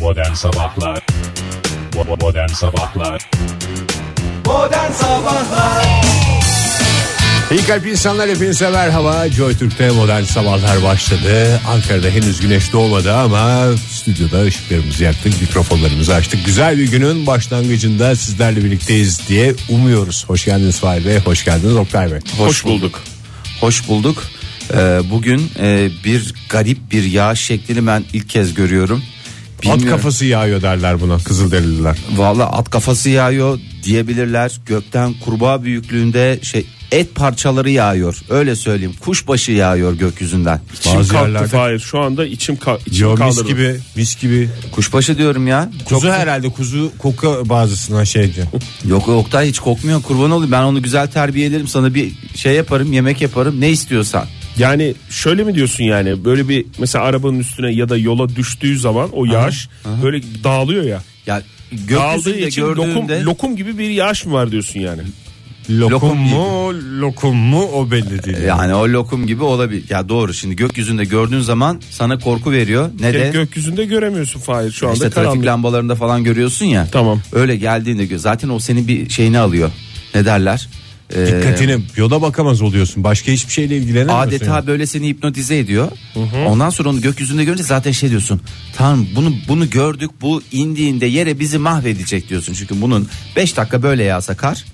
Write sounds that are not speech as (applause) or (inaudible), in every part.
Modern Sabahlar Bo- Modern Sabahlar Modern Sabahlar İyi kalp insanlar hepinize merhaba Joy Türk'te modern sabahlar başladı Ankara'da henüz güneş doğmadı ama Stüdyoda ışıklarımızı yaktık Mikrofonlarımızı açtık Güzel bir günün başlangıcında sizlerle birlikteyiz diye umuyoruz Hoş geldiniz Fahir Bey Hoş geldiniz Oktay Bey Hoş bulduk. Hoş bulduk. Ee, bugün e, bir garip bir yağ şeklini ben ilk kez görüyorum. At Bilmiyorum. kafası yağıyor derler buna Kızılderililer Valla at kafası yağıyor diyebilirler. Gökten kurbağa büyüklüğünde şey et parçaları yağıyor. Öyle söyleyeyim. Kuşbaşı yağıyor gökyüzünden. İçim Bazı kalktı yerlerde- Fahir. Şu anda içim, ka içim Yo, mis kaldırdı. gibi mis gibi Kuşbaşı diyorum ya. Kuzu herhalde kuzu koku bazısına şey diyor. Yok Oktay hiç kokmuyor kurban olayım. Ben onu güzel terbiye ederim. Sana bir şey yaparım yemek yaparım ne istiyorsan. Yani şöyle mi diyorsun yani böyle bir mesela arabanın üstüne ya da yola düştüğü zaman o yağış böyle dağılıyor ya. Ya Dağıldığı gökyüzünde için lokum, gördüğünde lokum gibi bir yağış mı var diyorsun yani? Lokum, Lokum mu lokum mu o belli değil. Yani o lokum gibi olabilir. Ya doğru şimdi gökyüzünde gördüğün zaman sana korku veriyor. Ne Tek de gökyüzünde göremiyorsun Fahir şu anda işte trafik karanlık. lambalarında falan görüyorsun ya. Tamam. Öyle geldiğinde gö- zaten o senin bir şeyini alıyor. Ne derler? Şey Ee, Dikkatini yola bakamaz oluyorsun. Başka hiçbir şeyle ilgilenemiyorsun. adeta yani. böyle seni hipnotize ediyor. Ondan sonra onu gökyüzünde görünce zaten şey diyorsun. Tamam bunu bunu gördük. Bu indiğinde yere bizi mahvedecek diyorsun. Çünkü bunun 5 dakika böyle yağsa kar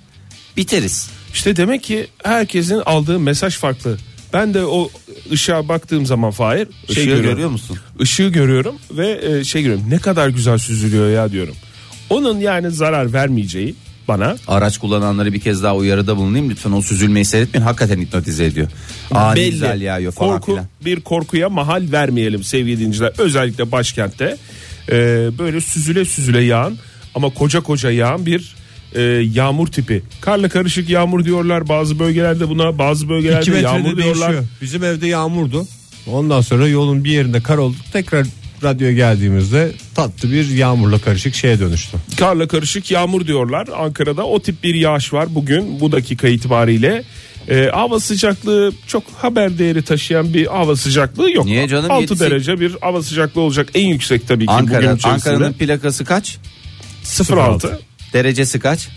biteriz. İşte demek ki herkesin aldığı mesaj farklı. Ben de o ışığa baktığım zaman Fahir şey Işığı görüyor musun? Işığı görüyorum ve e, şey görüyorum. Ne kadar güzel süzülüyor ya diyorum. Onun yani zarar vermeyeceği bana Araç kullananları bir kez daha uyarıda bulunayım lütfen o süzülmeyi seyretmeyin hakikaten hipnotize ediyor. Aa ne güzel yağıyor falan korku, filan. Bir korkuya mahal vermeyelim sevgili dinciler. Özellikle başkentte e, böyle süzüle süzüle yağan ama koca koca yağan bir e, yağmur tipi. Karla karışık yağmur diyorlar bazı bölgelerde buna bazı İki bölgelerde metrede yağmur diyorlar. değişiyor. Bizim evde yağmurdu. Ondan sonra yolun bir yerinde kar oldu. Tekrar radyoya geldiğimizde tatlı bir yağmurla karışık şeye dönüştü. Karla karışık yağmur diyorlar. Ankara'da o tip bir yağış var bugün bu dakika itibariyle. E, hava sıcaklığı çok haber değeri taşıyan bir hava sıcaklığı yok. Niye canım? 6 Yedi- derece bir hava sıcaklığı olacak. En yüksek tabii ki bugün Ankara, içerisinde. Ankara'nın plakası kaç? 06. Derecesi kaç?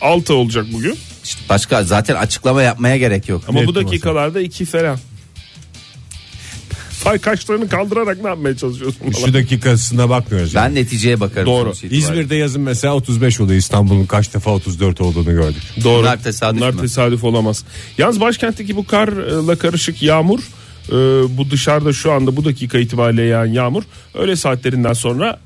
6 olacak bugün. İşte başka zaten açıklama yapmaya gerek yok. Ama Net bu dakikalarda 2 falan. Fay kaşlarını kaldırarak ne yapmaya çalışıyorsun? Şu dakikasına bakmıyoruz. yani. Ben neticeye bakarım. Doğru. sonuç itibariyle. İzmir'de yazın mesela 35 oldu. İstanbul'un kaç defa 34 olduğunu gördük. Doğru. Bunlar tesadüf Bunlar mü? tesadüf olamaz. Yalnız başkentteki bu karla karışık yağmur e, bu dışarıda şu anda bu dakika itibariyle yağan yağmur öğle saatlerinden sonra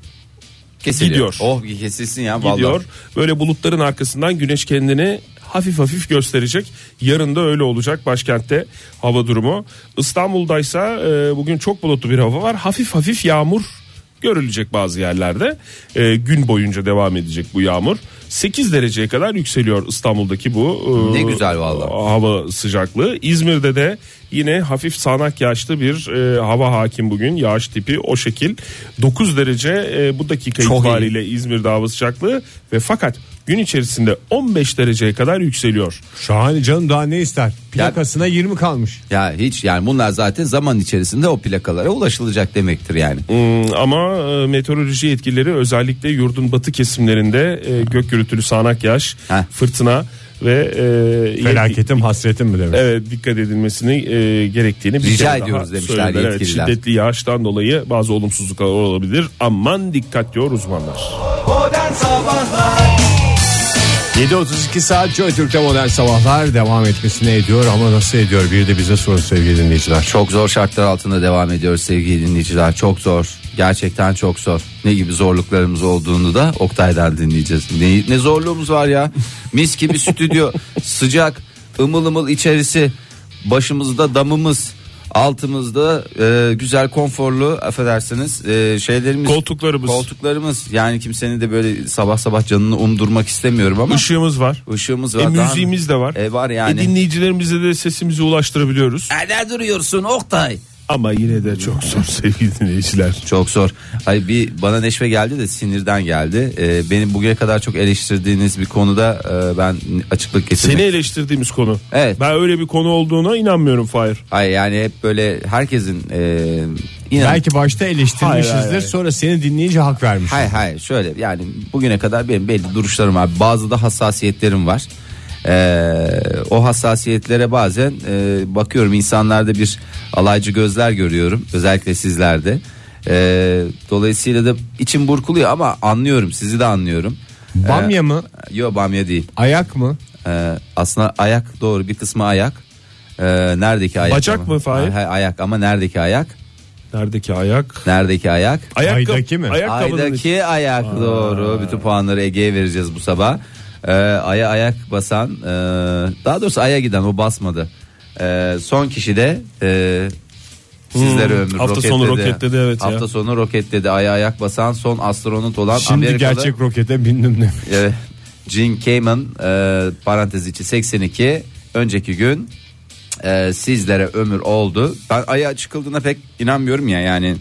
Kesiliyor. gidiyor. Oh bir kesilsin ya vallahi. gidiyor. Böyle bulutların arkasından güneş kendini hafif hafif gösterecek. Yarın da öyle olacak başkentte hava durumu. İstanbul'daysa e, bugün çok bulutlu bir hava var. Hafif hafif yağmur görülecek bazı yerlerde. E, gün boyunca devam edecek bu yağmur. 8 dereceye kadar yükseliyor İstanbul'daki bu e, Ne güzel vallahi. hava sıcaklığı. İzmir'de de yine hafif sağanak yağışlı bir e, hava hakim bugün. Yağış tipi o şekil. 9 derece e, bu dakika Çok iyi. itibariyle İzmir'de hava sıcaklığı ve fakat gün içerisinde 15 dereceye kadar yükseliyor. Şahane canım daha ne ister? Plakasına 20 kalmış. Ya hiç yani bunlar zaten zaman içerisinde o plakalara ulaşılacak demektir yani. Hmm, ama e, meteoroloji etkileri özellikle yurdun batı kesimlerinde e, gök gürültülü sağanak yağış, Ha. fırtına ve e, Felaketim hasretim mi demek? Evet dikkat edilmesini e, gerektiğini bir Rica kere daha ediyoruz demişler söylediler. Evet, yetkililer. şiddetli yağıştan dolayı bazı olumsuzluklar olabilir. Aman dikkat diyor uzmanlar. Modern Sabahlar 7.32 saat Joy Türk'te modern sabahlar devam etmesine ediyor ama nasıl ediyor bir de bize sorun sevgili dinleyiciler. Çok zor şartlar altında devam ediyoruz sevgili dinleyiciler. Çok zor. Gerçekten çok zor. Ne gibi zorluklarımız olduğunu da Oktay'dan dinleyeceğiz. Ne, ne zorluğumuz var ya. Mis gibi stüdyo. (laughs) Sıcak. ımıl ımıl içerisi. Başımızda damımız. Altımızda e, güzel konforlu affedersiniz e, şeylerimiz. Koltuklarımız. Koltuklarımız. Yani kimsenin de böyle sabah sabah canını umdurmak istemiyorum ama. Işığımız var. Işığımız var. E, daha- müziğimiz de var. E, var yani. E, dinleyicilerimize de sesimizi ulaştırabiliyoruz. E, ne duruyorsun Oktay? Ama yine de çok (laughs) zor sevgili dinleyiciler. Çok zor. Ay bir bana neşve geldi de sinirden geldi. Ee, beni bugüne kadar çok eleştirdiğiniz bir konuda e, ben açıklık getirmek. Seni eleştirdiğimiz konu. Evet. Ben öyle bir konu olduğuna inanmıyorum Fahir. Ay yani hep böyle herkesin e, inan. Belki başta eleştirmişizdir Hayır, hayır, hayır. sonra seni dinleyince hak vermiş. Hayır hayır şöyle yani bugüne kadar benim belli duruşlarım var. Bazı da hassasiyetlerim var. Ee, o hassasiyetlere bazen e, bakıyorum insanlarda bir alaycı gözler görüyorum. Özellikle sizlerde. Ee, dolayısıyla da içim burkuluyor ama anlıyorum sizi de anlıyorum. Ee, Bamya mı? Yo bamya değil. Ayak mı? Ee, aslında ayak doğru bir kısmı ayak. Ee, neredeki ayak? Bacak ama? mı Fahir? Ha, ha, ayak ama neredeki ayak? Neredeki ayak? Neredeki ayak? Ayakkabı- Aydaki mi? Ayakkabının içi. Aydaki ayak doğru. Bütün puanları Ege'ye vereceğiz bu sabah. Ee, aya ayak basan, e, daha doğrusu aya giden o basmadı. Ee, son kişi de e, sizlere Hmm, ömür hafta roketledi. sonu roketledi, evet ya. Hafta sonu roketledi. Aya ayak basan son astronot olan Şimdi Amerikalı. gerçek rokete bindim demiş. e, Jim Cayman e, parantez içi 82 önceki gün e, sizlere ömür oldu. Ben aya çıkıldığına pek inanmıyorum ya yani.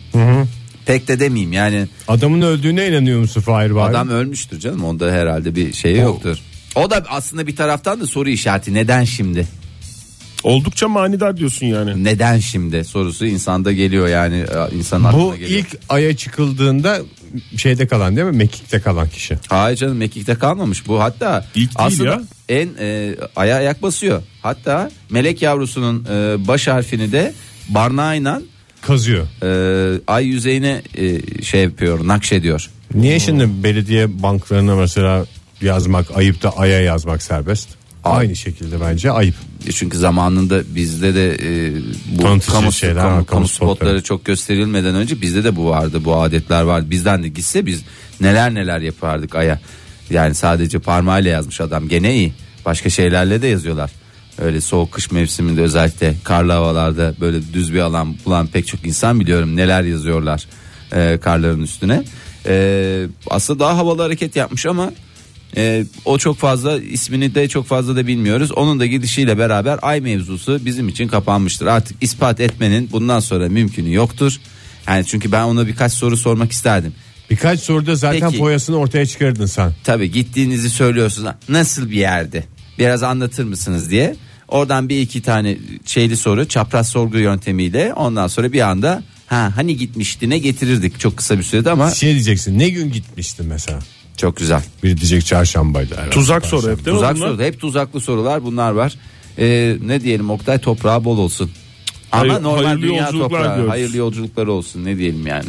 Pek de demeyeyim yani. Adamın öldüğüne inanıyor musun Fahir Bey? Adam ölmüştür canım onda herhalde bir şey yoktur. O da aslında bir taraftan da soru işareti neden şimdi? Oldukça manidar diyorsun yani. Neden şimdi sorusu insanda geliyor yani e, insanın Bu aklına geliyor. ilk aya çıkıldığında şeyde kalan değil mi? Mekik'te kalan kişi. Hayır canım mekikte kalmamış bu hatta İlk değil aslında ya. en e, aya ayak basıyor. Hatta melek yavrusunun e, baş harfini de barnağıyla Kazıyor. e, ay yüzeyine e, şey yapıyor nakşediyor. Niye şimdi belediye banklarına mesela yazmak ayıp da aya yazmak serbest? Aynı şekilde bence ayıp. Çünkü zamanında bizde de e, bu kamu, Tanıtıcı şeyler kamu- var, kamu kamu spotları. spotları çok gösterilmeden önce bizde de bu vardı bu adetler vardı. Bizden de gitse biz neler neler yapardık aya. Yani sadece parmağıyla yazmış adam gene iyi. Başka şeylerle de yazıyorlar. Öyle soğuk kış mevsiminde özellikle karlı havalarda böyle düz bir alan bulan pek çok insan biliyorum neler yazıyorlar e, karların üstüne. E, aslında daha havalı hareket yapmış ama ee, o çok fazla ismini de çok fazla da bilmiyoruz. Onun da gidişiyle beraber ay mevzusu bizim için kapanmıştır. Artık ispat etmenin bundan sonra mümkünü yoktur. Yani çünkü ben ona birkaç soru sormak isterdim. Birkaç soruda zaten Peki. boyasını ortaya çıkardın sen. Tabii gittiğinizi söylüyorsunuz. Nasıl bir yerde? Biraz anlatır mısınız diye. Oradan bir iki tane şeyli soru çapraz sorgu yöntemiyle ondan sonra bir anda ha hani gitmişti ne getirirdik çok kısa bir sürede ama Şey diyeceksin ne gün gitmiştin mesela? çok güzel. Biri diyecek çarşambaydı. herhalde. Tuzak Perşembe. soru hep değil mi Tuzak bunlar? soru. Hep tuzaklı sorular bunlar var. Ee, ne diyelim Oktay toprağı bol olsun. Ama Hayır- normal hayırlı dünya yolculuklar toprağı. diyoruz. Hayırlı yolculuklar olsun ne diyelim yani.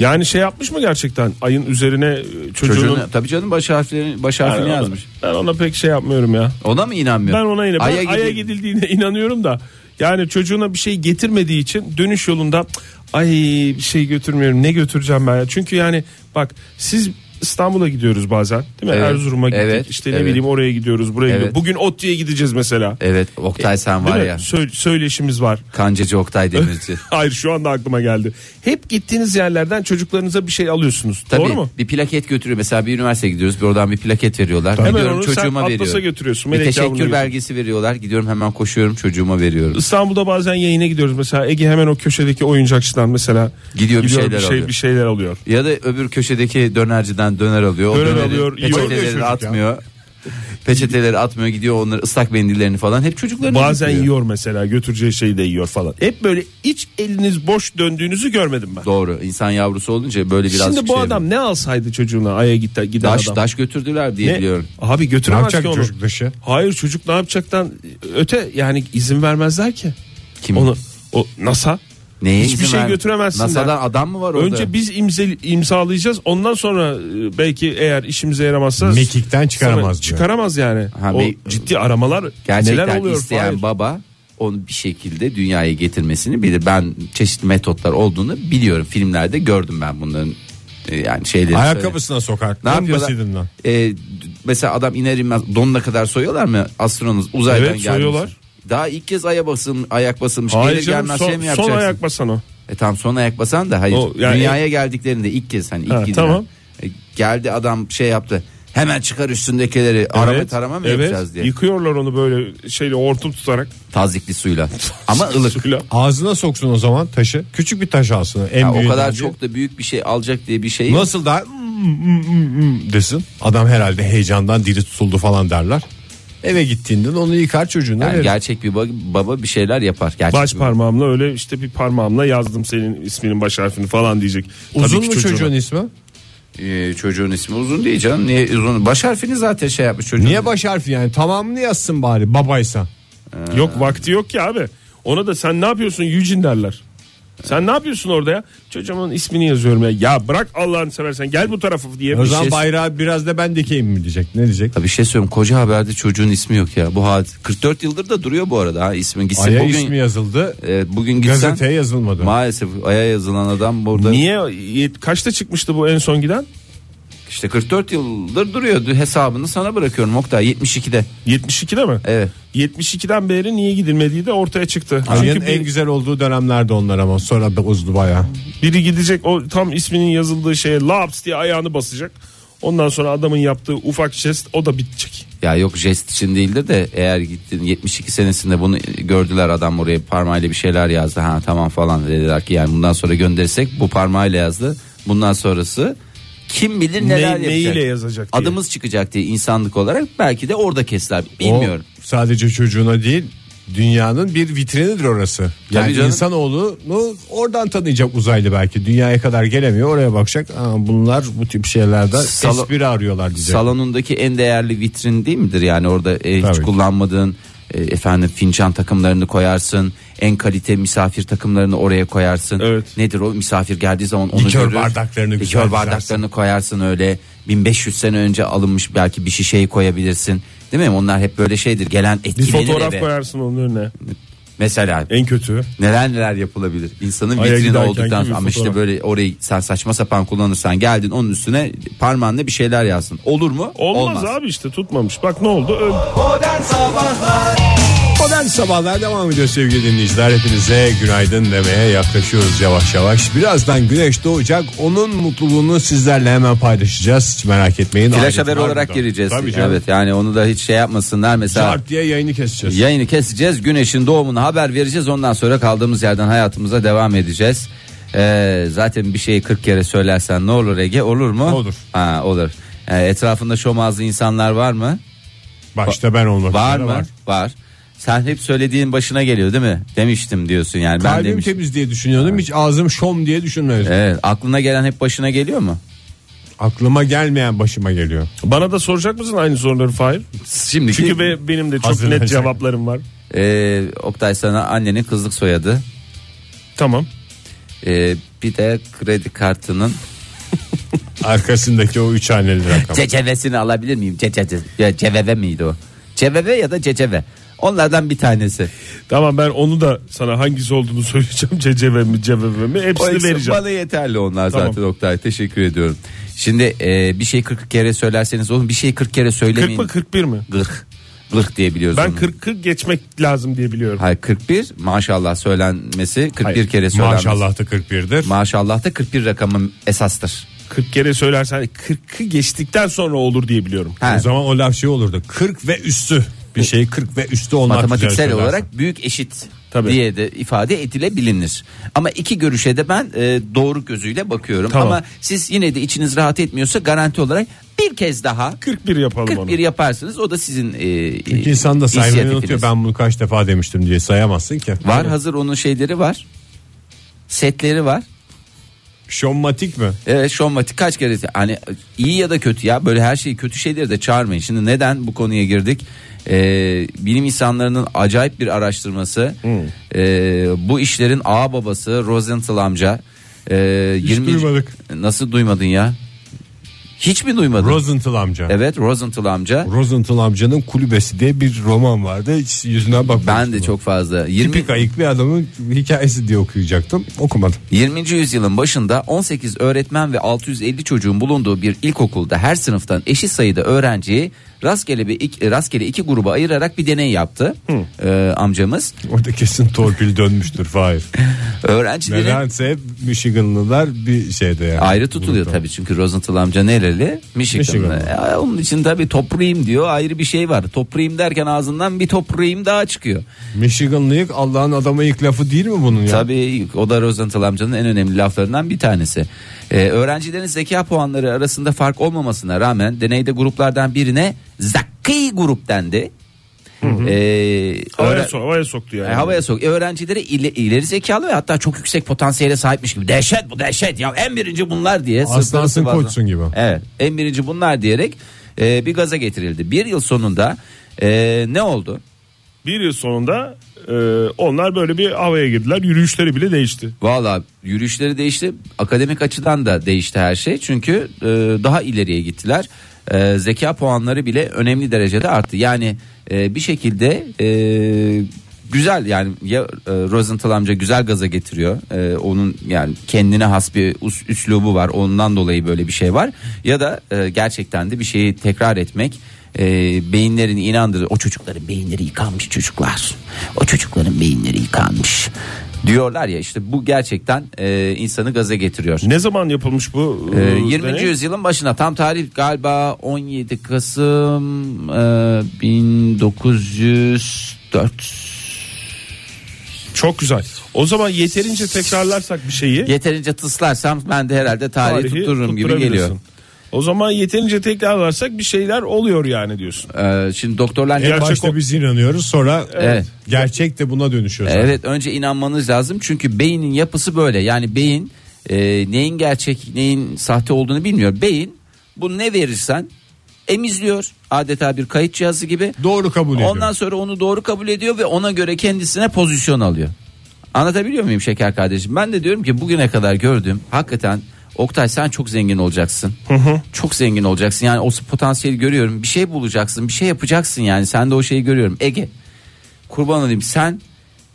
Yani şey yapmış mı gerçekten? Ayın üzerine e, çocuğunun... Çocuğun tabii canım baş harflerini baş Yani harfini ona- yazmış. Ben ona pek şey yapmıyorum ya. Ona mı inanmıyor? Ben ona yine ben aya, gidil- gidildiğine (laughs) inanıyorum da yani çocuğuna bir şey getirmediği için dönüş yolunda ay bir şey götürmüyorum ne götüreceğim ben ya. Çünkü yani bak siz İstanbul'a gidiyoruz bazen değil mi? Evet, Erzurum'a gittik evet, işte ne evet. bileyim oraya gidiyoruz buraya Evet. gidiyoruz. Bugün Otti'ye gideceğiz mesela. Evet Oktay sen E, Değil var mi? ya. Sö- söyleşimiz (laughs) var. Kancacı Oktay Demirci. Hayır şu anda aklıma geldi. Hep gittiğiniz yerlerden çocuklarınıza bir şey alıyorsunuz. Tabii (laughs) Doğru mu? bir plaket götürüyor mesela bir üniversiteye gidiyoruz bir oradan bir plaket veriyorlar. Hemen Gidiyorum onu sen çocuğuma Atlas'a veriyorum. götürüyorsun, Bir melek yavrunu teşekkür belgesi veriyorlar. Gidiyorum hemen koşuyorum çocuğuma veriyorum. İstanbul'da bazen yayına gidiyoruz mesela Ege hemen o köşedeki oyuncakçıdan mesela Gidiyor bir şeyler şey, alıyor. bir şeyler alıyor. Ya da öbür köşedeki dönerciden döner alıyor. Döner o döneri alıyor, yiyor. Çok iyi Peçeteleri çocuk atmıyor. Peçeteleri atmıyor gidiyor onları ıslak mendillerini falan hep çocukların Bazen yiyor mesela götüreceği şeyi de yiyor falan. Hep böyle iç eliniz boş döndüğünüzü görmedim ben. Doğru insan yavrusu olunca böyle biraz şey Şimdi bu adam ne alsaydı çocuğuna aya gitti giden daş adam. daş götürdüler diye Ne? biliyorum. Abi Ne götüremez yapacak ki onu. çocuk dışı? Hayır çocuk ne yapacaktan öte yani izin vermezler ki. Kim? Onu o NASA Neye hiçbir izin şey vermiyor? götüremezsin NASA'dan der. adam mı var orada? önce biz imze, imzalayacağız ondan sonra e, belki eğer işimize yaramazsa Mekikten çıkaramaz sonra diyor. Çıkaramaz yani. Ha, o me- ciddi aramalar Gerçekten neler oluyor isteyen Fahir? baba onu bir şekilde dünyaya getirmesini bilir. Ben çeşitli metotlar olduğunu biliyorum. Filmlerde gördüm ben bunların e, yani şeyleri. Ayakkabısına sokar. Ne En yapıyorlar? basitinden. E, d- mesela adam iner inmez donuna kadar soyuyorlar mı astronot uzaydan Evet, gelmiş. soyuyorlar. Daha ilk kez aya basın, ayak basılmış. Hayır Gelir canım, gelmez son, şey mi son yapacaksın? ayak basan o. E tamam son ayak basan da hayır. O, yani- Dünyaya geldiklerinde ilk kez hani ilk Ha, gidilen. tamam. E, geldi adam şey yaptı. Hemen çıkar üstündekileri arama tarama mı evet. yapacağız diye. Yıkıyorlar onu böyle şeyle hortum tutarak. Tazikli suyla. (laughs) Ama ılık. Suyla. Ağzına soksun o zaman taşı. Küçük bir taş alsın. En Ya o büyüğünden kadar değil. çok da büyük bir şey alacak diye bir şey. yok. Nasıl da "Mm, mm, mm, mm" desin. Adam herhalde heyecandan dili tutuldu falan derler. Eve gittiğinde de onu yıkar çocuğuna. Yani verir. gerçek bir ba- baba bir şeyler yapar. Gerçek Baş bir- parmağımla öyle işte bir parmağımla yazdım senin isminin baş harfini falan diyecek. Tabii Uzun ki mu çocuğuna. çocuğun ismi? Ee, çocuğun ismi uzun değil canım. Niye uzun? Baş harfini zaten şey yapmış çocuğun. Niye baş harfi yani? Tamamını yazsın bari babaysa. Yok vakti yok ki abi. Ona da sen ne yapıyorsun Yücin derler. Sen ne yapıyorsun orada ya? Çocuğumun ismini yazıyorum ya. Ya bırak Allah'ını seversen gel bu tarafa E, diye. O bir zaman şey- bayrağı biraz da ben dikeyim mi diyecek? Ne diyecek? Ya bir şey söyleyeyim koca haberde çocuğun ismi yok ya. Bu had 44 yıldır da duruyor bu arada ha ismi gitsin Aya bugün. ismi yazıldı. e, bugün gitsen Gazeteye yazılmadı. maalesef aya yazılan adam burada Niye? Yet- Kaçta çıkmıştı bu en son giden? işte 44 yıldır duruyor. Hesabını sana bırakıyorum Oktay 72'de. 72'de mi? Evet. 72'den beri niye gidilmediği de ortaya çıktı. Ayın Çünkü bir- en güzel olduğu dönemlerde onlar ama sonra da uzdu bayağı. biri gidecek o tam isminin yazıldığı şeye laps diye ayağını basacak. Ondan sonra adamın yaptığı ufak jest o da bitecek. Ya yok jest için değildir de eğer gittin 72 senesinde bunu gördüler adam oraya parmağıyla bir şeyler yazdı. Ha tamam falan dediler ki yani bundan sonra göndersek bu parmağıyla yazdı. Bundan sonrası kim bilir neler Ne- yapacak. neyle yazacak diye. Adımız çıkacak diye insanlık olarak belki de orada kesler bilmiyorum. O sadece çocuğuna değil dünyanın bir vitrinidir orası. Yani canım. insanoğlunu oradan tanıyacak uzaylı belki. Dünyaya kadar gelemiyor oraya bakacak. Aa, bunlar bu tip şeylerde Salo- espri arıyorlar diyecek. Salonundaki en değerli vitrin değil midir yani orada e, hiç Tabii. kullanmadığın e, efendim fincan takımlarını koyarsın. En kalite misafir takımlarını oraya koyarsın. Evet. Nedir o misafir geldiği zaman onu Likör görür. bardaklarını güzel Likör dizersin. bardaklarını koyarsın öyle. 1500 sene önce alınmış belki bir şişeyi koyabilirsin. Değil mi? Onlar hep böyle şeydir. Gelen Bir etkilenir fotoğraf eve. koyarsın onun önüne. Mesela En kötü. neler neler yapılabilir. İnsanın Aya vitrini giderken olduktan gibi bir sonra ama işte fotoğraf. böyle orayı sen saçma sapan kullanırsan geldin onun üstüne parmağınla bir şeyler yazsın. Olur mu? Olmaz, abi işte tutmamış. Bak ne oldu? Öldü. Modern Sabahlar Modern sabahlar devam ediyor sevgili dinleyiciler. Hepinize günaydın demeye yaklaşıyoruz yavaş yavaş. Birazdan güneş doğacak. Onun mutluluğunu sizlerle hemen paylaşacağız. Hiç merak etmeyin. Adet Flash haber var olarak burada. gireceğiz. Tabii canım. evet yani onu da hiç şey yapmasınlar mesela. Zart diye yayını keseceğiz. Yayını keseceğiz. Güneşin doğumunu haber vereceğiz. Ondan sonra kaldığımız yerden hayatımıza devam edeceğiz. Ee, zaten bir şeyi 40 kere söylersen ne olur Ege? Olur mu? Olur. Ha, olur. Ee, etrafında şomazlı insanlar var mı? Başta ben olmak Var üzere mı? Var. Sen hep söylediğin başına geliyor değil mi? Demiştim diyorsun yani. Ben Kalbim demiştim. temiz diye düşünüyordum. Hiç ağzım şom diye düşünmedim. Evet, aklına gelen hep başına geliyor mu? Aklıma gelmeyen başıma geliyor. Bana da soracak mısın aynı soruları Fahir? Şimdiki Çünkü be- benim de çok Hazırlanacak. net cevaplarım var. Ee, Oktay sana annenin kızlık soyadı. Tamam. Ee, bir de kredi kartının Arkasındaki o üç haneli rakam. cecevesini alabilir miyim? Cecece. Ya ceveve miydi o? Ceveve ya da ceceve. Onlardan bir tanesi. Tamam ben onu da sana hangisi olduğunu (laughs) söyleyeceğim. Ceceve mi ceveve mi O hepsini ikisi vereceğim. bana yeterli onlar Tamam. zaten Oktay. Teşekkür ediyorum. Şimdi e, bir şey 40 kere söylerseniz oğlum bir şey 40 kere 40 söylemeyin. mı 41 mi? 40. 40 diye biliyoruz. Ben onu. 40 40 geçmek lazım diye biliyorum. Hayır 41 maşallah söylenmesi 41 Hayır, kere söylenmesi. Maşallah da 41'dir. Maşallah da 41 rakamı esastır. 40 kere söylersen 40'ı geçtikten sonra olur diye biliyorum. Ha, o zaman o laf şey olurdu. 40 ve üstü. Bir şey 40 ve üstü olmak üzere matematiksel söylersin. olarak büyük eşit Tabii. diye de ifade edilebilir. Ama iki görüşe de ben e, doğru gözüyle bakıyorum. Tamam. Ama siz yine de içiniz rahat etmiyorsa garanti olarak bir kez daha 41 yapalım 41 yaparsınız. O da sizin e, Çünkü insan da saymayı inisiyatifiniz. unutuyor. Ben bunu kaç defa demiştim diye sayamazsın ki. Var hazır onun şeyleri var. Setleri var. Şommatik mi? Evet şovmatik kaç kere hani iyi ya da kötü ya böyle her şeyi kötü şeyleri de çağırmayın. Şimdi neden bu konuya girdik? Ee, bilim insanlarının acayip bir araştırması ee, bu işlerin ağababası babası Rosenthal amca ee, 20 duymadık. Nasıl duymadın ya? Hiç mi duymadın? Rosenthal amca. evet Rosenthal amca. Rosenthal amcanın kulübesi diye bir roman vardı. Hiç yüzüne bak. Ben de çok fazla 20 tipik ayık bir adamın hikayesi diye okuyacaktım. Okumadım. 20. yüzyılın başında 18 öğretmen ve 650 çocuğun bulunduğu bir ilkokulda her sınıftan eşit sayıda öğrenciyi rastgele bir iki, rastgele iki gruba ayırarak bir deney yaptı e, amcamız. Orada kesin torpil dönmüştür Fahir. Öğrencilerin Nedense hep Michiganlılar bir şeyde yani. ayrı tutuluyor tabii çünkü Rosenthal amca nereli? Michiganlı. Michiganlı. E, onun için tabii toprayım diyor ayrı bir şey var. Toprayım derken ağzından bir toprayım daha çıkıyor. Michiganlıyık Allah'ın adamı ilk lafı değil mi bunun ya? Tabii o da Rosenthal amcanın en önemli laflarından bir tanesi. Ee, öğrencilerin zeka puanları arasında fark olmamasına rağmen deneyde gruplardan birine zeki grup dendi. Ee, Havaya, öğre- so- havaya soktu yani. e, havaya sok. E, öğrencileri ile- ileri zekalı ve hatta çok yüksek potansiyele sahipmiş gibi. Dehşet bu dehşet ya en birinci bunlar diye. Aslansın sırtları sıvazla- koçsun gibi. Evet en birinci bunlar diyerek e, bir gaza getirildi. Bir yıl sonunda e, ne oldu? Bir yıl sonunda e, onlar böyle bir havaya girdiler. Yürüyüşleri bile değişti. Valla yürüyüşleri değişti. Akademik açıdan da değişti her şey. Çünkü e, daha ileriye gittiler. E, zeka puanları bile önemli derecede arttı. Yani e, bir şekilde e, güzel yani ya e, Rosenthal amca güzel gaza getiriyor. E, onun yani kendine has bir us- üslubu var. Ondan dolayı böyle bir şey var. Ya da e, gerçekten de bir şeyi tekrar etmek e, beyinlerini inandırır. O çocukların beyinleri yıkanmış çocuklar. O çocukların beyinleri yıkanmış. Diyorlar ya işte bu gerçekten e, insanı gaza getiriyor. Ne zaman yapılmış bu? E, e, 20. deney? yüzyılın başına tam tarih galiba 17 Kasım e, 1904 Çok güzel. O zaman yeterince tekrarlarsak bir şeyi yeterince tıslarsam ben de herhalde tarihi, tarihi tuttururum gibi tutturabilirsin. geliyor. O zaman yeterince tekrarlarsak bir şeyler oluyor yani diyorsun. E, şimdi doktorlar ne En Gerçek başta o- biz inanıyoruz sonra Evet. gerçek de buna dönüşüyor. zaten. Evet önce inanmanız lazım çünkü beynin yapısı böyle yani beyin e, neyin gerçek neyin sahte olduğunu bilmiyor. Beyin bu ne verirsen emizliyor adeta bir kayıt cihazı gibi. Doğru kabul ediyor. Ondan sonra onu doğru kabul ediyor ve ona göre kendisine pozisyon alıyor. Anlatabiliyor muyum şeker kardeşim? Ben de diyorum ki bugüne kadar gördüğüm hakikaten Oktay sen çok zengin olacaksın. Çok zengin olacaksın. Yani o potansiyeli görüyorum. Bir şey bulacaksın, bir şey yapacaksın yani. Sen de o şeyi görüyorum. Ege kurban olayım sen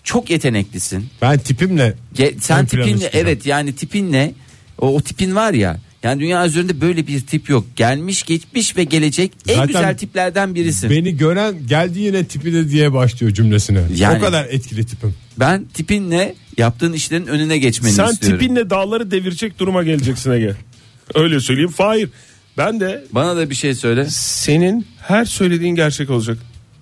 çok yeteneklisin. Ben tipimle Ge- sen ön plana tipinle çıkacağım. evet yani tipinle o, o tipin var ya. Yani dünya üzerinde böyle bir tip yok. Gelmiş, geçmiş ve gelecek en Zaten güzel tiplerden birisin. Beni gören geldi yine tipine diye başlıyor cümlesine. Yani- o kadar etkili tipim. Ben tipinle yaptığın işlerin önüne geçmeni Sen istiyorum. tipinle dağları devirecek duruma geleceksin Ege. Öyle söyleyeyim. Fahir ben de Bana da bir şey söyle. senin her söylediğin gerçek olacak. (laughs)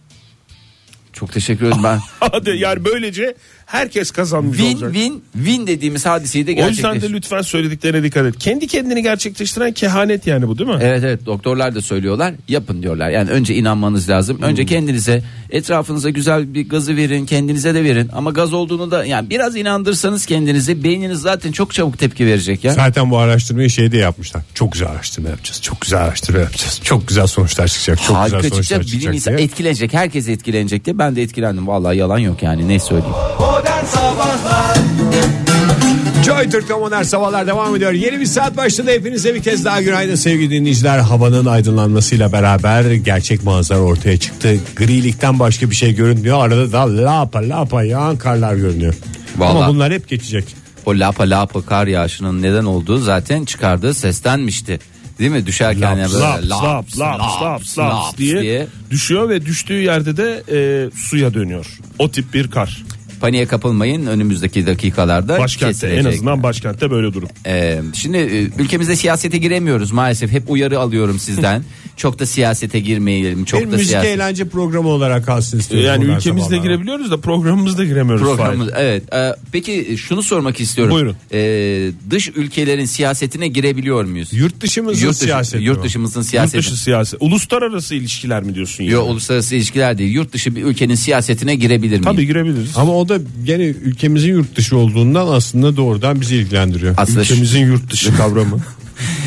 Çok teşekkür ederim ben. Hadi yani böylece herkes kazanmış win olacak. win win dediğimiz hadiseyi de O yüzden de gerçekleştir. lütfen söylediklerine dikkat et. Kendi kendini gerçekleştiren kehanet yani bu değil mi? Evet evet doktorlar da söylüyorlar yapın diyorlar yani önce inanmanız lazım önce Hmm. kendinize etrafınıza güzel bir gazı verin kendinize de verin ama gaz olduğunu da yani biraz inandırsanız kendinizi beyniniz zaten çok çabuk tepki verecek ya. Zaten bu araştırmayı şey de yapmışlar. Çok güzel araştırma yapacağız. Çok güzel araştırma yapacağız. Çok güzel sonuçlar çıkacak. Çok Harika güzel sonuçlar çıkacak bilim E, çıkacak. insan diye. etkilenecek herkes etkilenecek diye ben de etkilendim vallahi yalan yok yani ne söyleyeyim. Modern Sabahlar Joy Türk'te modern sabahlar devam ediyor. Yeni bir saat başladı. Hepinize bir kez daha günaydın sevgili dinleyiciler. Havanın aydınlanmasıyla beraber gerçek manzara ortaya çıktı. Grilikten başka bir şey görünmüyor. Arada da lapa lapa yağan karlar görünüyor. Ama Vallahi. bunlar hep geçecek. O lapa lapa kar yağışının neden olduğu zaten çıkardığı sestenmişti. Değil mi? Laps, Düşerken yani böyle Laps laps laps laps laps diye, düşüyor ve düştüğü yerde de e, suya dönüyor. O tip bir kar. Paniğe kapılmayın önümüzdeki dakikalarda Başkentte en kesilecek. azından başkentte böyle durum. Ee, şimdi e, ülkemizde siyasete giremiyoruz maalesef. Hep uyarı (laughs) alıyorum sizden. çok da siyasete girmeyelim. Çok bir da müzik siyaset eğlence programı olarak kalsın E, istiyorum. Yani modern ülkemizde sabahlar. girebiliyoruz da programımızda giremiyoruz. programımız. Fahir. Evet. e, peki şunu sormak istiyorum. Buyurun. Ee, dış ülkelerin siyasetine girebiliyor muyuz? Yurt dışımızın Yurt dışı- siyaseti Yurt mi? dışımızın Yurt siyaseti. dışı siyaset. Uluslararası ilişkiler mi diyorsun? Yani? Yo, uluslararası ilişkiler değil. Yurt dışı bir ülkenin siyasetine girebilir miyim? Tabii girebiliriz. Ama o da gene ülkemizin yurt dışı olduğundan aslında doğrudan bizi ilgilendiriyor. Aslında şu- ülkemizin yurt dışı kavramı.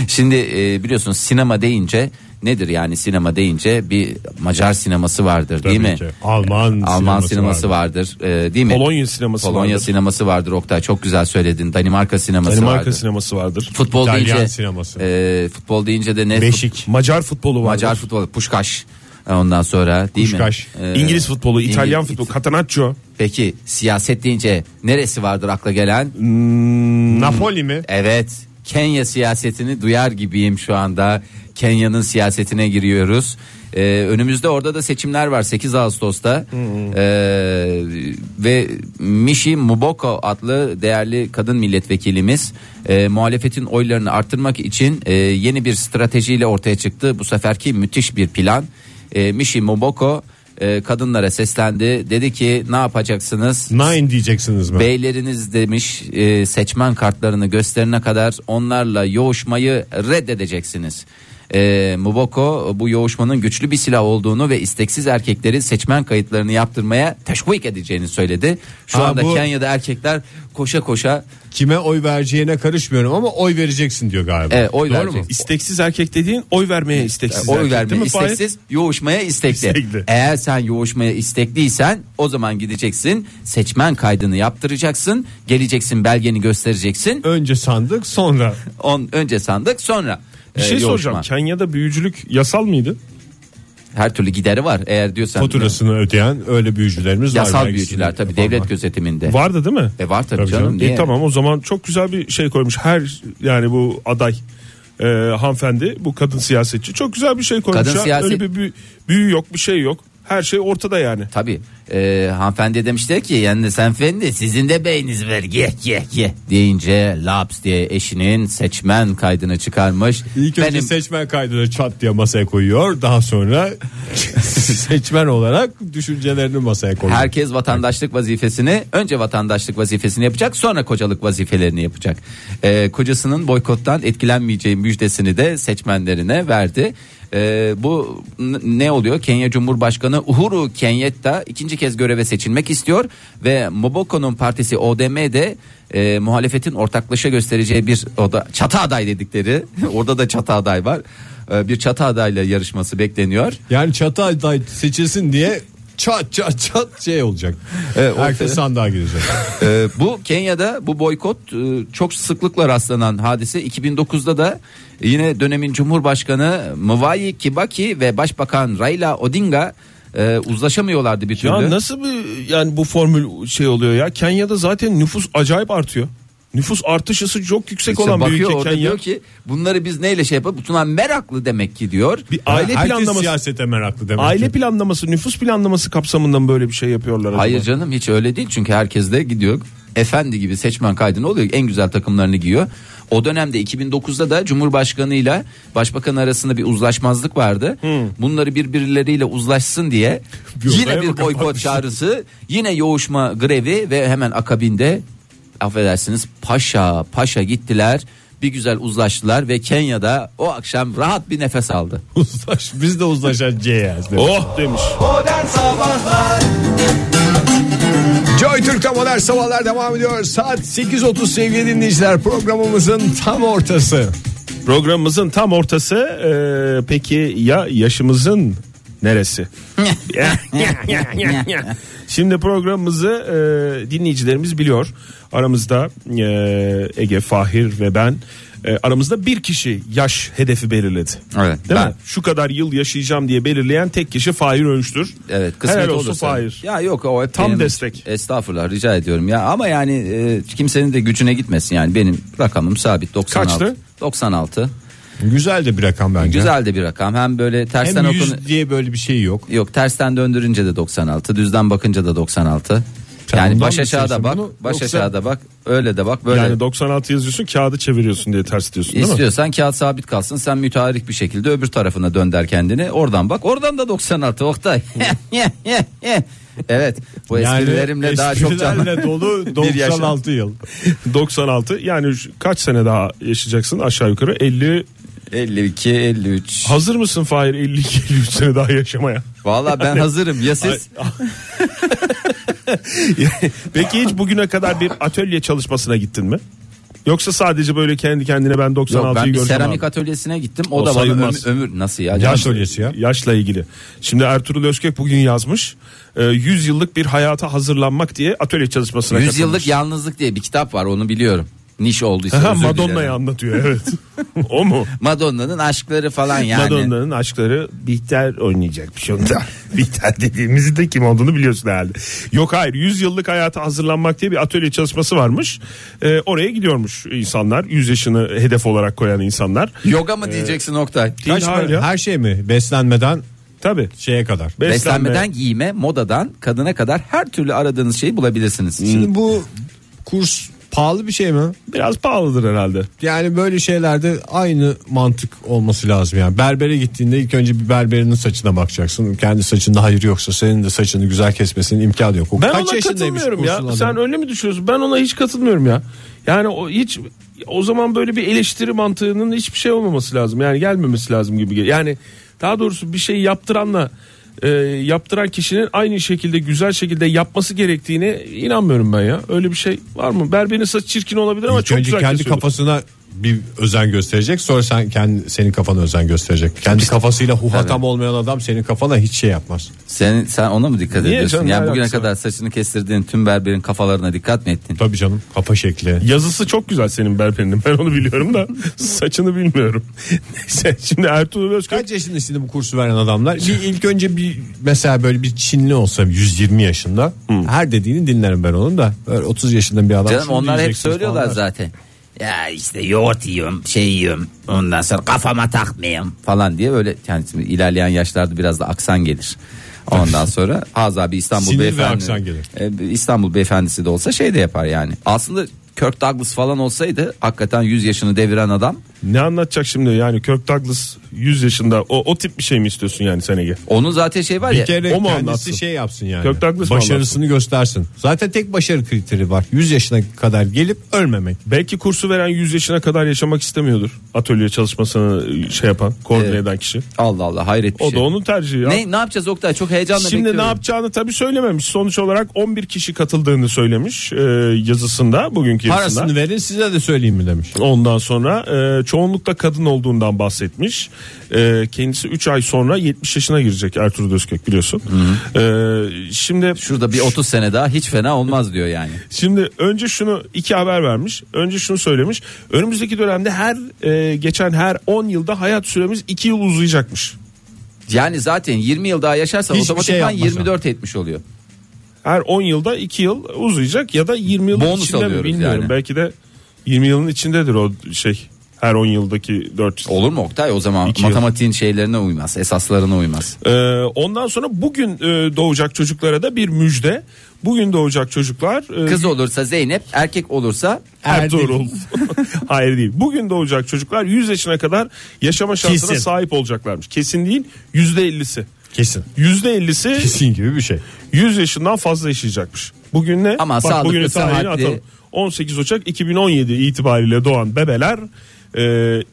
Şimdi e, biliyorsunuz sinema deyince nedir yani sinema deyince bir Macar sineması vardır (laughs) değil Tabii mi? ki. Alman Alman sineması sineması vardır, e, değil mi? Polonya sineması Polonya vardır. sineması vardır Oktay çok güzel söyledin. Danimarka sineması Danimarka vardır. sineması vardır. Futbol İtalyan deyince sineması. e, futbol deyince de ne? Beşik. Macar futbolu vardır. Macar futbolu, Puşkaş. E, Ondan sonra değil Puşkaş. mi? E, İngiliz futbolu, İtalyan İngiliz- futbolu, Catenaccio. Peki siyaset deyince neresi vardır akla gelen? Napoli mi? Evet. Kenya siyasetini duyar gibiyim şu anda. Kenya'nın siyasetine giriyoruz. Ee, önümüzde orada da seçimler var 8 Ağustos'ta Ee, ve Mishi Muboko adlı değerli kadın milletvekilimiz e, muhalefetin oylarını arttırmak için e, yeni bir stratejiyle ortaya çıktı. Bu seferki müthiş bir plan. E, Mishi Muboko e, kadınlara seslendi. Dedi ki ne yapacaksınız? Nine diyeceksiniz mi? Beyleriniz demiş e, seçmen kartlarını gösterene kadar onlarla yoğuşmayı reddedeceksiniz. E, Muboko bu yoğuşmanın güçlü bir silah olduğunu ve isteksiz erkekleri seçmen kayıtlarını yaptırmaya teşvik edeceğini söyledi. Şu Ha, anda bu- Kenya'da erkekler koşa koşa Kime oy vereceğine karışmıyorum ama oy vereceksin diyor galiba. e, oy Doğru verecek. mu? İsteksiz erkek dediğin oy vermeye isteksiz e, oy erkek vermeye değil mi Fahir? isteksiz, yoğuşmaya istekli. İstekli. Eğer sen yoğuşmaya istekliysen o zaman gideceksin, seçmen kaydını yaptıracaksın, geleceksin belgeni göstereceksin. Önce sandık sonra. On, önce sandık sonra Bir e, şey soracağım. yoğuşma. Kenya'da büyücülük yasal mıydı? Her türlü gideri var eğer diyorsan. e, Faturasını ödeyen öyle büyücülerimiz var. Yasal Vergisini büyücüler tabii yapanlar. devlet gözetiminde. Vardı değil mi? E var tabii, Tabii canım. canım. niye? E, tamam o zaman çok güzel bir şey koymuş. Her yani bu aday e, hanımefendi bu kadın siyasetçi çok güzel bir şey koymuş. Kadın ya. siyaset- Öyle bir büyü, büyü yok bir şey yok. Her şey ortada yani. Tabii. E, hanımefendi demişler ki yani sen efendi sizin de beyniniz var ye ye ye deyince laps diye eşinin seçmen kaydını çıkarmış. İlk önce seçmen kaydını çat diye masaya koyuyor. Daha sonra (laughs) seçmen olarak düşüncelerini masaya koyuyor. Herkes vatandaşlık vazifesini önce vatandaşlık vazifesini yapacak sonra kocalık vazifelerini yapacak. Ee, kocasının boykottan etkilenmeyeceği müjdesini de seçmenlerine verdi. Ee, bu n- ne oluyor? Kenya Cumhurbaşkanı Uhuru Kenyatta ikinci kez göreve seçilmek istiyor ve Moboko'nun partisi ODM'de e, muhalefetin ortaklaşa göstereceği bir o da çatı aday dedikleri (laughs) orada da çatı aday var. Ee, bir çatı adayla yarışması bekleniyor. Yani çatı aday seçilsin diye çat çat çat şey olacak. Evet, ortaya- Herkes sandığa girecek. Ee, bu Kenya'da bu boykot e, çok sıklıkla rastlanan hadise 2009'da da yine dönemin Cumhurbaşkanı Mwai Kibaki ve Başbakan Raila Odinga e, uzlaşamıyorlardı bir türlü. Ya nasıl bir yani bu formül şey oluyor ya? Kenya'da zaten nüfus acayip artıyor. Nüfus artışısı çok yüksek İşte olan bir bakıyor ülke orada Kenya. diyor ki bunları biz neyle şey yapalım? Bunlar meraklı demek ki diyor. Bir aile Herkes planlaması siyasete meraklı demek. aile ki. planlaması, nüfus planlaması kapsamında mı böyle bir şey yapıyorlar acaba? Hayır canım hiç öyle değil çünkü herkes de gidiyor. Efendi gibi seçmen kaydını oluyor. En güzel takımlarını giyiyor. O dönemde 2009'da da Cumhurbaşkanı ile Başbakan arasında bir uzlaşmazlık vardı. Bunları birbirleriyle uzlaşsın diye Bir yine odaya mı bir boykot kapanmışlar? çağrısı, yine yoğuşma grevi ve hemen akabinde affedersiniz paşa paşa gittiler. Bir güzel uzlaştılar ve Kenya'da o akşam rahat bir nefes aldı. (laughs) Uzlaş, biz de uzlaşacağız. Oh demiş. Modern Sabahlar Joy Türk'te modern sabahlar devam ediyor. Saat 8.30 sevgili dinleyiciler programımızın tam ortası. Programımızın tam ortası e, peki ya yaşımızın (laughs) neresi? Şimdi programımızı e, dinleyicilerimiz biliyor. Aramızda e, Ege, Fahir ve ben e, aramızda bir kişi yaş hedefi belirledi. Evet, Değil ben. mi? Şu kadar yıl yaşayacağım diye belirleyen tek kişi Fahir Önç'tür. Evet kısmet Helal olsun olursa. Fahir. Ya yok o hep Tam benim- destek. Estağfurullah rica ediyorum ya ama yani e, kimsenin de gücüne gitmesin yani benim rakamım sabit 96. Kaçtı? 96. Güzel de bir rakam bence. Güzel de bir rakam. Hem böyle tersten Hem 100 okun diye böyle bir şey yok. Yok tersten döndürünce de 96, düzden bakınca da 96. Sen yani bundan baş mı aşağıda istiyorsun bak, bunu? baş Yoksa- aşağıda bak, öyle de bak, böyle. Yani 96 yazıyorsun kağıdı çeviriyorsun diye ters diyorsun değil (laughs) mi? İstiyorsan kağıt sabit kalsın. Sen müteahhit bir şekilde öbür tarafına dönder kendini. Oradan bak. Oradan da 96 Oktay. (laughs) evet. Bu esprilerimle daha çok canlı. esprilerle dolu (laughs) Bir yaşam. 96 yıl. 96 yani şu- kaç sene daha yaşayacaksın aşağı yukarı 50 52 53. Hazır mısın Fahir 52 53 sene daha (laughs) yaşamaya? (laughs) Valla ben hazırım ya siz? Peki hiç bugüne kadar bir atölye çalışmasına gittin mi? Yoksa sadece böyle kendi kendine ben Yok 96'yı ben bir gördüm. seramik abi. atölyesine gittim. O, O da bana sayılmaz. ömür, ömür- nasıl ya? Yaş ölyesi ya. Yaşla ilgili. Şimdi Ertuğrul Özkök bugün yazmış. e, 100 yıllık bir hayata hazırlanmak diye atölye çalışmasına 100 katılmış. yıllık yalnızlık diye bir kitap var onu biliyorum. Niş (laughs) olduysa Ha, özür Madonna'yı dilerim. anlatıyor (laughs) evet. o mu? Madonna'nın aşkları falan yani. Madonna'nın aşkları Bihter şey oynayacakmış onda. (laughs) Bihter dediğimizi de kim olduğunu biliyorsun herhalde. Yok hayır 100 yıllık hayata hazırlanmak diye bir atölye çalışması varmış. Ee, oraya gidiyormuş insanlar. 100 yaşını hedef olarak koyan insanlar. Yoga mı diyeceksin Oktay? Değil, hayır ya. Her şey mi? Beslenmeden Tabii. şeye kadar. Beslenmeden giyime, modadan kadına kadar her türlü aradığınız şeyi bulabilirsiniz. Hmm. Şimdi Şimdi bu kurs pahalı bir şey mi? Biraz pahalıdır herhalde. Yani böyle şeylerde aynı mantık olması lazım yani. Berbere gittiğinde ilk önce bir berberinin saçına bakacaksın. Kendi saçında hayır yoksa senin de saçını güzel kesmesinin imkanı yok. O Ben kaç ona yaşındaymış katılmıyorum ya. kursun adamı? Sen öyle mi düşünüyorsun? Ben ona hiç katılmıyorum ya. Yani o hiç o zaman böyle bir eleştiri mantığının hiçbir şey olmaması lazım. Yani gelmemesi lazım gibi geliyor. Yani daha doğrusu bir şey yaptıranla e, yaptıran kişinin aynı şekilde güzel şekilde yapması gerektiğine inanmıyorum ben ya. Öyle bir şey var mı? Berberin saçı çirkin olabilir ama İlk çok önce güzel kendi kesiyordur. kafasına bir özen gösterecek. Sonra sen kendi senin kafana özen gösterecek. Kendi kafasıyla huhatam olmayan adam senin kafana hiç şey yapmaz. Sen sen ona mı dikkat Niye ediyorsun? canım, ne yani bugüne alakası kadar saçını kestirdiğin tüm berberin kafalarına dikkat mi ettin? Tabii canım kafa şekli. Yazısı çok güzel senin berberinin. Ben onu biliyorum da (laughs) saçını bilmiyorum. (laughs) Neyse şimdi Ertuğrul Özkök Kaç yaşında şimdi bu kursu veren adamlar? Bir ilk önce bir mesela böyle bir Çinli olsa 120 yaşında. Her dediğini dinlerim ben onun da. Böyle 30 yaşında bir adam. Canım şunu onlar hep diyeceksiniz söylüyorlar falan der. zaten. Ya işte yoğurt yiyorum, şey yiyorum. Ondan sonra kafama takmayayım falan diye öyle yani şimdi ilerleyen yaşlarda biraz da aksan gelir. Ondan sonra az abi İstanbul Sinir ve beyefendi. aksan gelir. E, İstanbul beyefendisi de olsa şey de yapar yani. Aslında Kirk Douglas falan olsaydı hakikaten 100 yaşını deviren adam Ne anlatacak şimdi yani Kirk Douglas 100 yaşında o, o tip bir şey mi istiyorsun yani sen Ege? onun zaten şey var ya. Bir kere O mu kendisi anlatsın? şey yapsın yani. Kirk Douglas mı Başarısını göstersin. Zaten tek başarı kriteri var. 100 yaşına kadar gelip ölmemek. Belki kursu veren 100 yaşına kadar yaşamak istemiyordur. Atölye çalışmasını şey yapan, koordine Evet. eden kişi. Allah Allah hayret bir O şey. da onun tercihi. ya. Ne, ne yapacağız Oktay çok heyecanla Şimdi bekliyorum. ne yapacağını tabii söylememiş. Sonuç olarak 11 kişi katıldığını söylemiş e, yazısında, bugünkü yazısında. Parasını verin size de söyleyeyim mi demiş. Ondan sonra e, çoğunlukla kadın olduğundan bahsetmiş. E, kendisi 3 ay sonra 70 yaşına girecek Ertuğrul Özkök biliyorsun. E, şimdi Şurada bir 30 sene daha hiç fena olmaz diyor yani. Şimdi önce şunu iki haber vermiş. Önce şunu söylemiş. Önümüzdeki dönemde her e, geçen her 10 yılda hayat süremiz 2 yıl uzayacakmış. Yani zaten 20 yıl daha yaşarsa Hiçbir otomatikman şey yapmasa. 24 etmiş oluyor. Her 10 yılda 2 yıl uzayacak ya da 20 yılın Bonus içinde mi alıyoruz bilmiyorum. yani. Belki de 20 yılın içindedir o şey. Her 10 yıldaki 4 yıl. Olur mu Oktay? O zaman İki yıl. matematiğin şeylerine uymaz, esaslarına uymaz. Ee, ondan sonra bugün e, doğacak çocuklara da bir müjde. Bugün doğacak çocuklar e, Kız olursa Zeynep, erkek olursa Ertuğrul. (laughs) Hayır değil. Bugün doğacak çocuklar 100 yaşına kadar yaşama şansına Kesin. sahip olacaklarmış. Kesin değil %50'si. Kesin. %50'si Kesin gibi bir şey. 100 yaşından fazla yaşayacakmış. Bugün ne? Ama sağlıklı, bugünün tarihini sıhhatli- atalım. 18 Ocak 2017 itibariyle doğan bebeler e,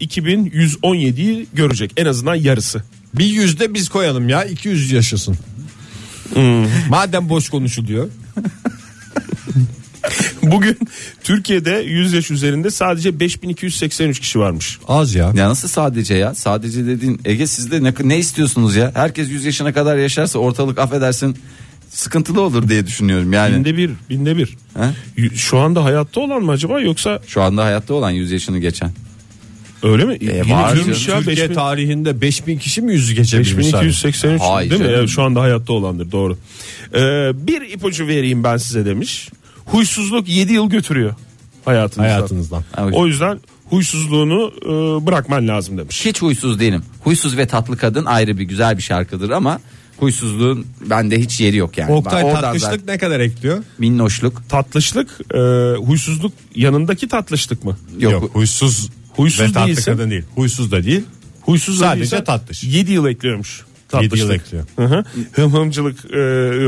2117'yi görecek. En azından yarısı. (laughs) Bir yüzde biz koyalım ya 200 yaşasın. Hmm. Madem boş konuşuluyor. Bugün Türkiye'de 100 yaş üzerinde sadece 5283 kişi varmış. Az ya. ya nasıl sadece ya? Sadece dediğin Ege sizde ne, ne istiyorsunuz ya? Herkes 100 yaşına kadar yaşarsa ortalık affedersin sıkıntılı olur diye düşünüyorum yani. Binde bir, binde bir. Ha? Y- Şu anda hayatta olan mı acaba yoksa Şu anda hayatta olan 100 yaşını geçen. Öyle mi? var girmiş canım. ya Türkiye 5000 tarihinde 5000 kişi mi yüzü geçebilmiş? sadece? 5283 Hayır değil mi? canım. Evet, şu anda hayatta olandır doğru. Ee, bir ipucu vereyim ben size demiş. Huysuzluk 7 yıl götürüyor hayatınızdan. Hayatınızdan. O yüzden huysuzluğunu e, bırakman lazım demiş. Hiç huysuz değilim. Huysuz ve tatlı kadın ayrı bir güzel bir şarkıdır ama huysuzluğun bende hiç yeri yok yani. Ben Oktay oradan tatlışlık zaten- ne kadar ekliyor? minnoşluk. Tatlışlık, e, huysuzluk yanındaki tatlışlık mı? Yok. huysuz. Huysuz ve tatlı değilse- kadın değil. Huysuz da değil. Huysuz da Sadece değilse tatlış. 7 yıl ekliyormuş. Tatlışlık. Yedi yıl ekliyor. Hı hı. Hımhımcılık e,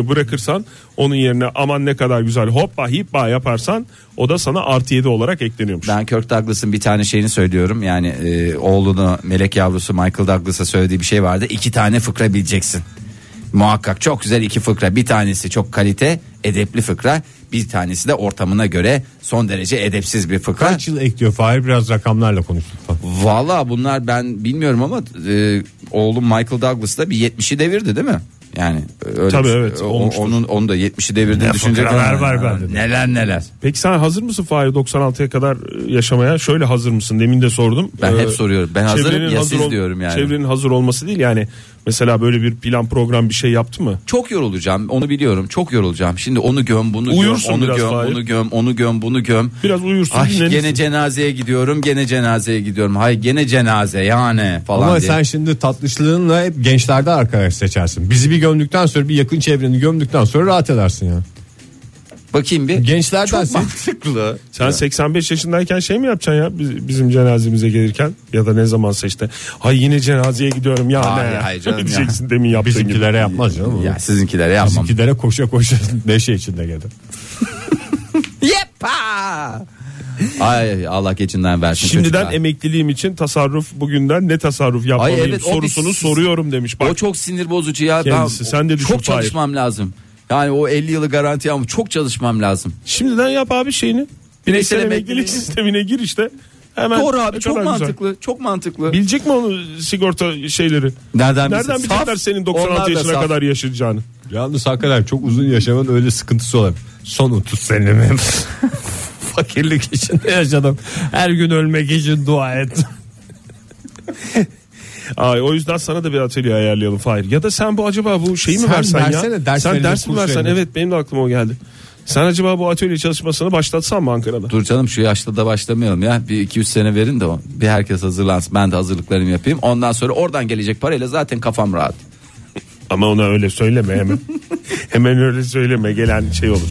bırakırsan onun yerine aman ne kadar güzel hoppa hippa yaparsan o da sana artı 7 olarak ekleniyormuş. Ben Kirk Douglas'ın bir tane şeyini söylüyorum. Yani e, oğluna melek yavrusu Michael Douglas'a söylediği bir şey vardı. İki tane fıkra bileceksin. Muhakkak çok güzel iki fıkra. Bir tanesi çok kalite, edepli fıkra. Bir tanesi de ortamına göre son derece edepsiz bir fıkra. Kaç yıl ekliyor? Fahir biraz rakamlarla konuş lütfen. Valla bunlar ben bilmiyorum ama e, oğlum Michael Douglas da bir 70'i devirdi değil mi? Yani öyle Tabii bir- evet, o- olmuştur. onun onu da 70'i devirdiğini düşünce fıkralar var bende. Neler neler. Peki sen hazır mısın Fahir 96'ya kadar e, yaşamaya? Şöyle hazır mısın? Demin de sordum. Ben Ee, hep soruyorum. Ben hazırım çevrenin ya hazır siz ol- diyorum yani. Çevrenin hazır olması değil yani. Mesela böyle bir plan program bir şey yaptı mı? Çok yorulacağım. Onu biliyorum. Çok yorulacağım. Şimdi onu göm, bunu Uyursun göm, onu biraz göm, Fahir. onu göm, onu göm, bunu göm. Biraz uyursun, Ay dinlenirsin. gene cenazeye gidiyorum. Gene cenazeye gidiyorum. Hay gene cenaze yani falan Ama diye. sen şimdi tatlışlığınla hep gençlerde arkadaş seçersin. Bizi bir gömdükten sonra bir yakın çevreni gömdükten sonra rahat edersin ya. Bakayım bir. Gençlerden Çok sen mantıklı. Sen 85 yaşındayken şey mi yapacaksın ya biz- bizim cenazemize gelirken ya da ne zamansa işte. Ay yine cenazeye gideyorum ya Hayır, ne ya. hayır canım ya. diyeceksin demin yaptığın gibi. bizimkilere yapmaz canım. Ya sizinkilere yapmam. Bizimkilere koşa koşa (laughs) neşe içinde gelir. Yepa! Ay Allah geçinden versin. Şimdiden çocuklar. emekliliğim için tasarruf bugünden ne tasarruf yapmalıyım Ay evet, o sorusunu bir- soruyorum demiş. Bak O çok sinir bozucu ya. Ben Kendisi, sen de düşün çok Fahir. çalışmam lazım. Yani o 50 yılı garanti ama çok çalışmam lazım. şimdiden yap abi şeyini. Bireysel emeklilik emeklilik. sistemine gir işte. Hemen Doğru Ne abi çok kadar güzel. mantıklı. Çok mantıklı. Bilecek mi onu sigorta şeyleri? Nereden, Nereden bilsin? bilecekler Saf. senin Onlar 96 da yaşına saf. kadar yaşayacağını? Yalnız hakikaten çok uzun yaşamın öyle sıkıntısı olabilir. Son 30 senemi (laughs) fakirlik içinde yaşadım. Her gün ölmek için dua et. Ay, o yüzden sana da bir atölye ayarlayalım Fahir. Ya da sen bu acaba bu şeyi mi Sen versen ya? versene, ders sen verilir, ders mi kurs versen? verilir. Evet benim de aklıma o geldi. Sen acaba bu atölye çalışmasını başlatsan mı Ankara'da? Dur canım şu yaşta da başlamayalım ya. Bir 2-3 sene verin de o- bir herkes hazırlansın. Ben de hazırlıklarımı yapayım. Ondan sonra oradan gelecek parayla zaten kafam rahat. (laughs) Ama ona öyle söyleme hemen. hemen öyle söyleme gelen şey olur.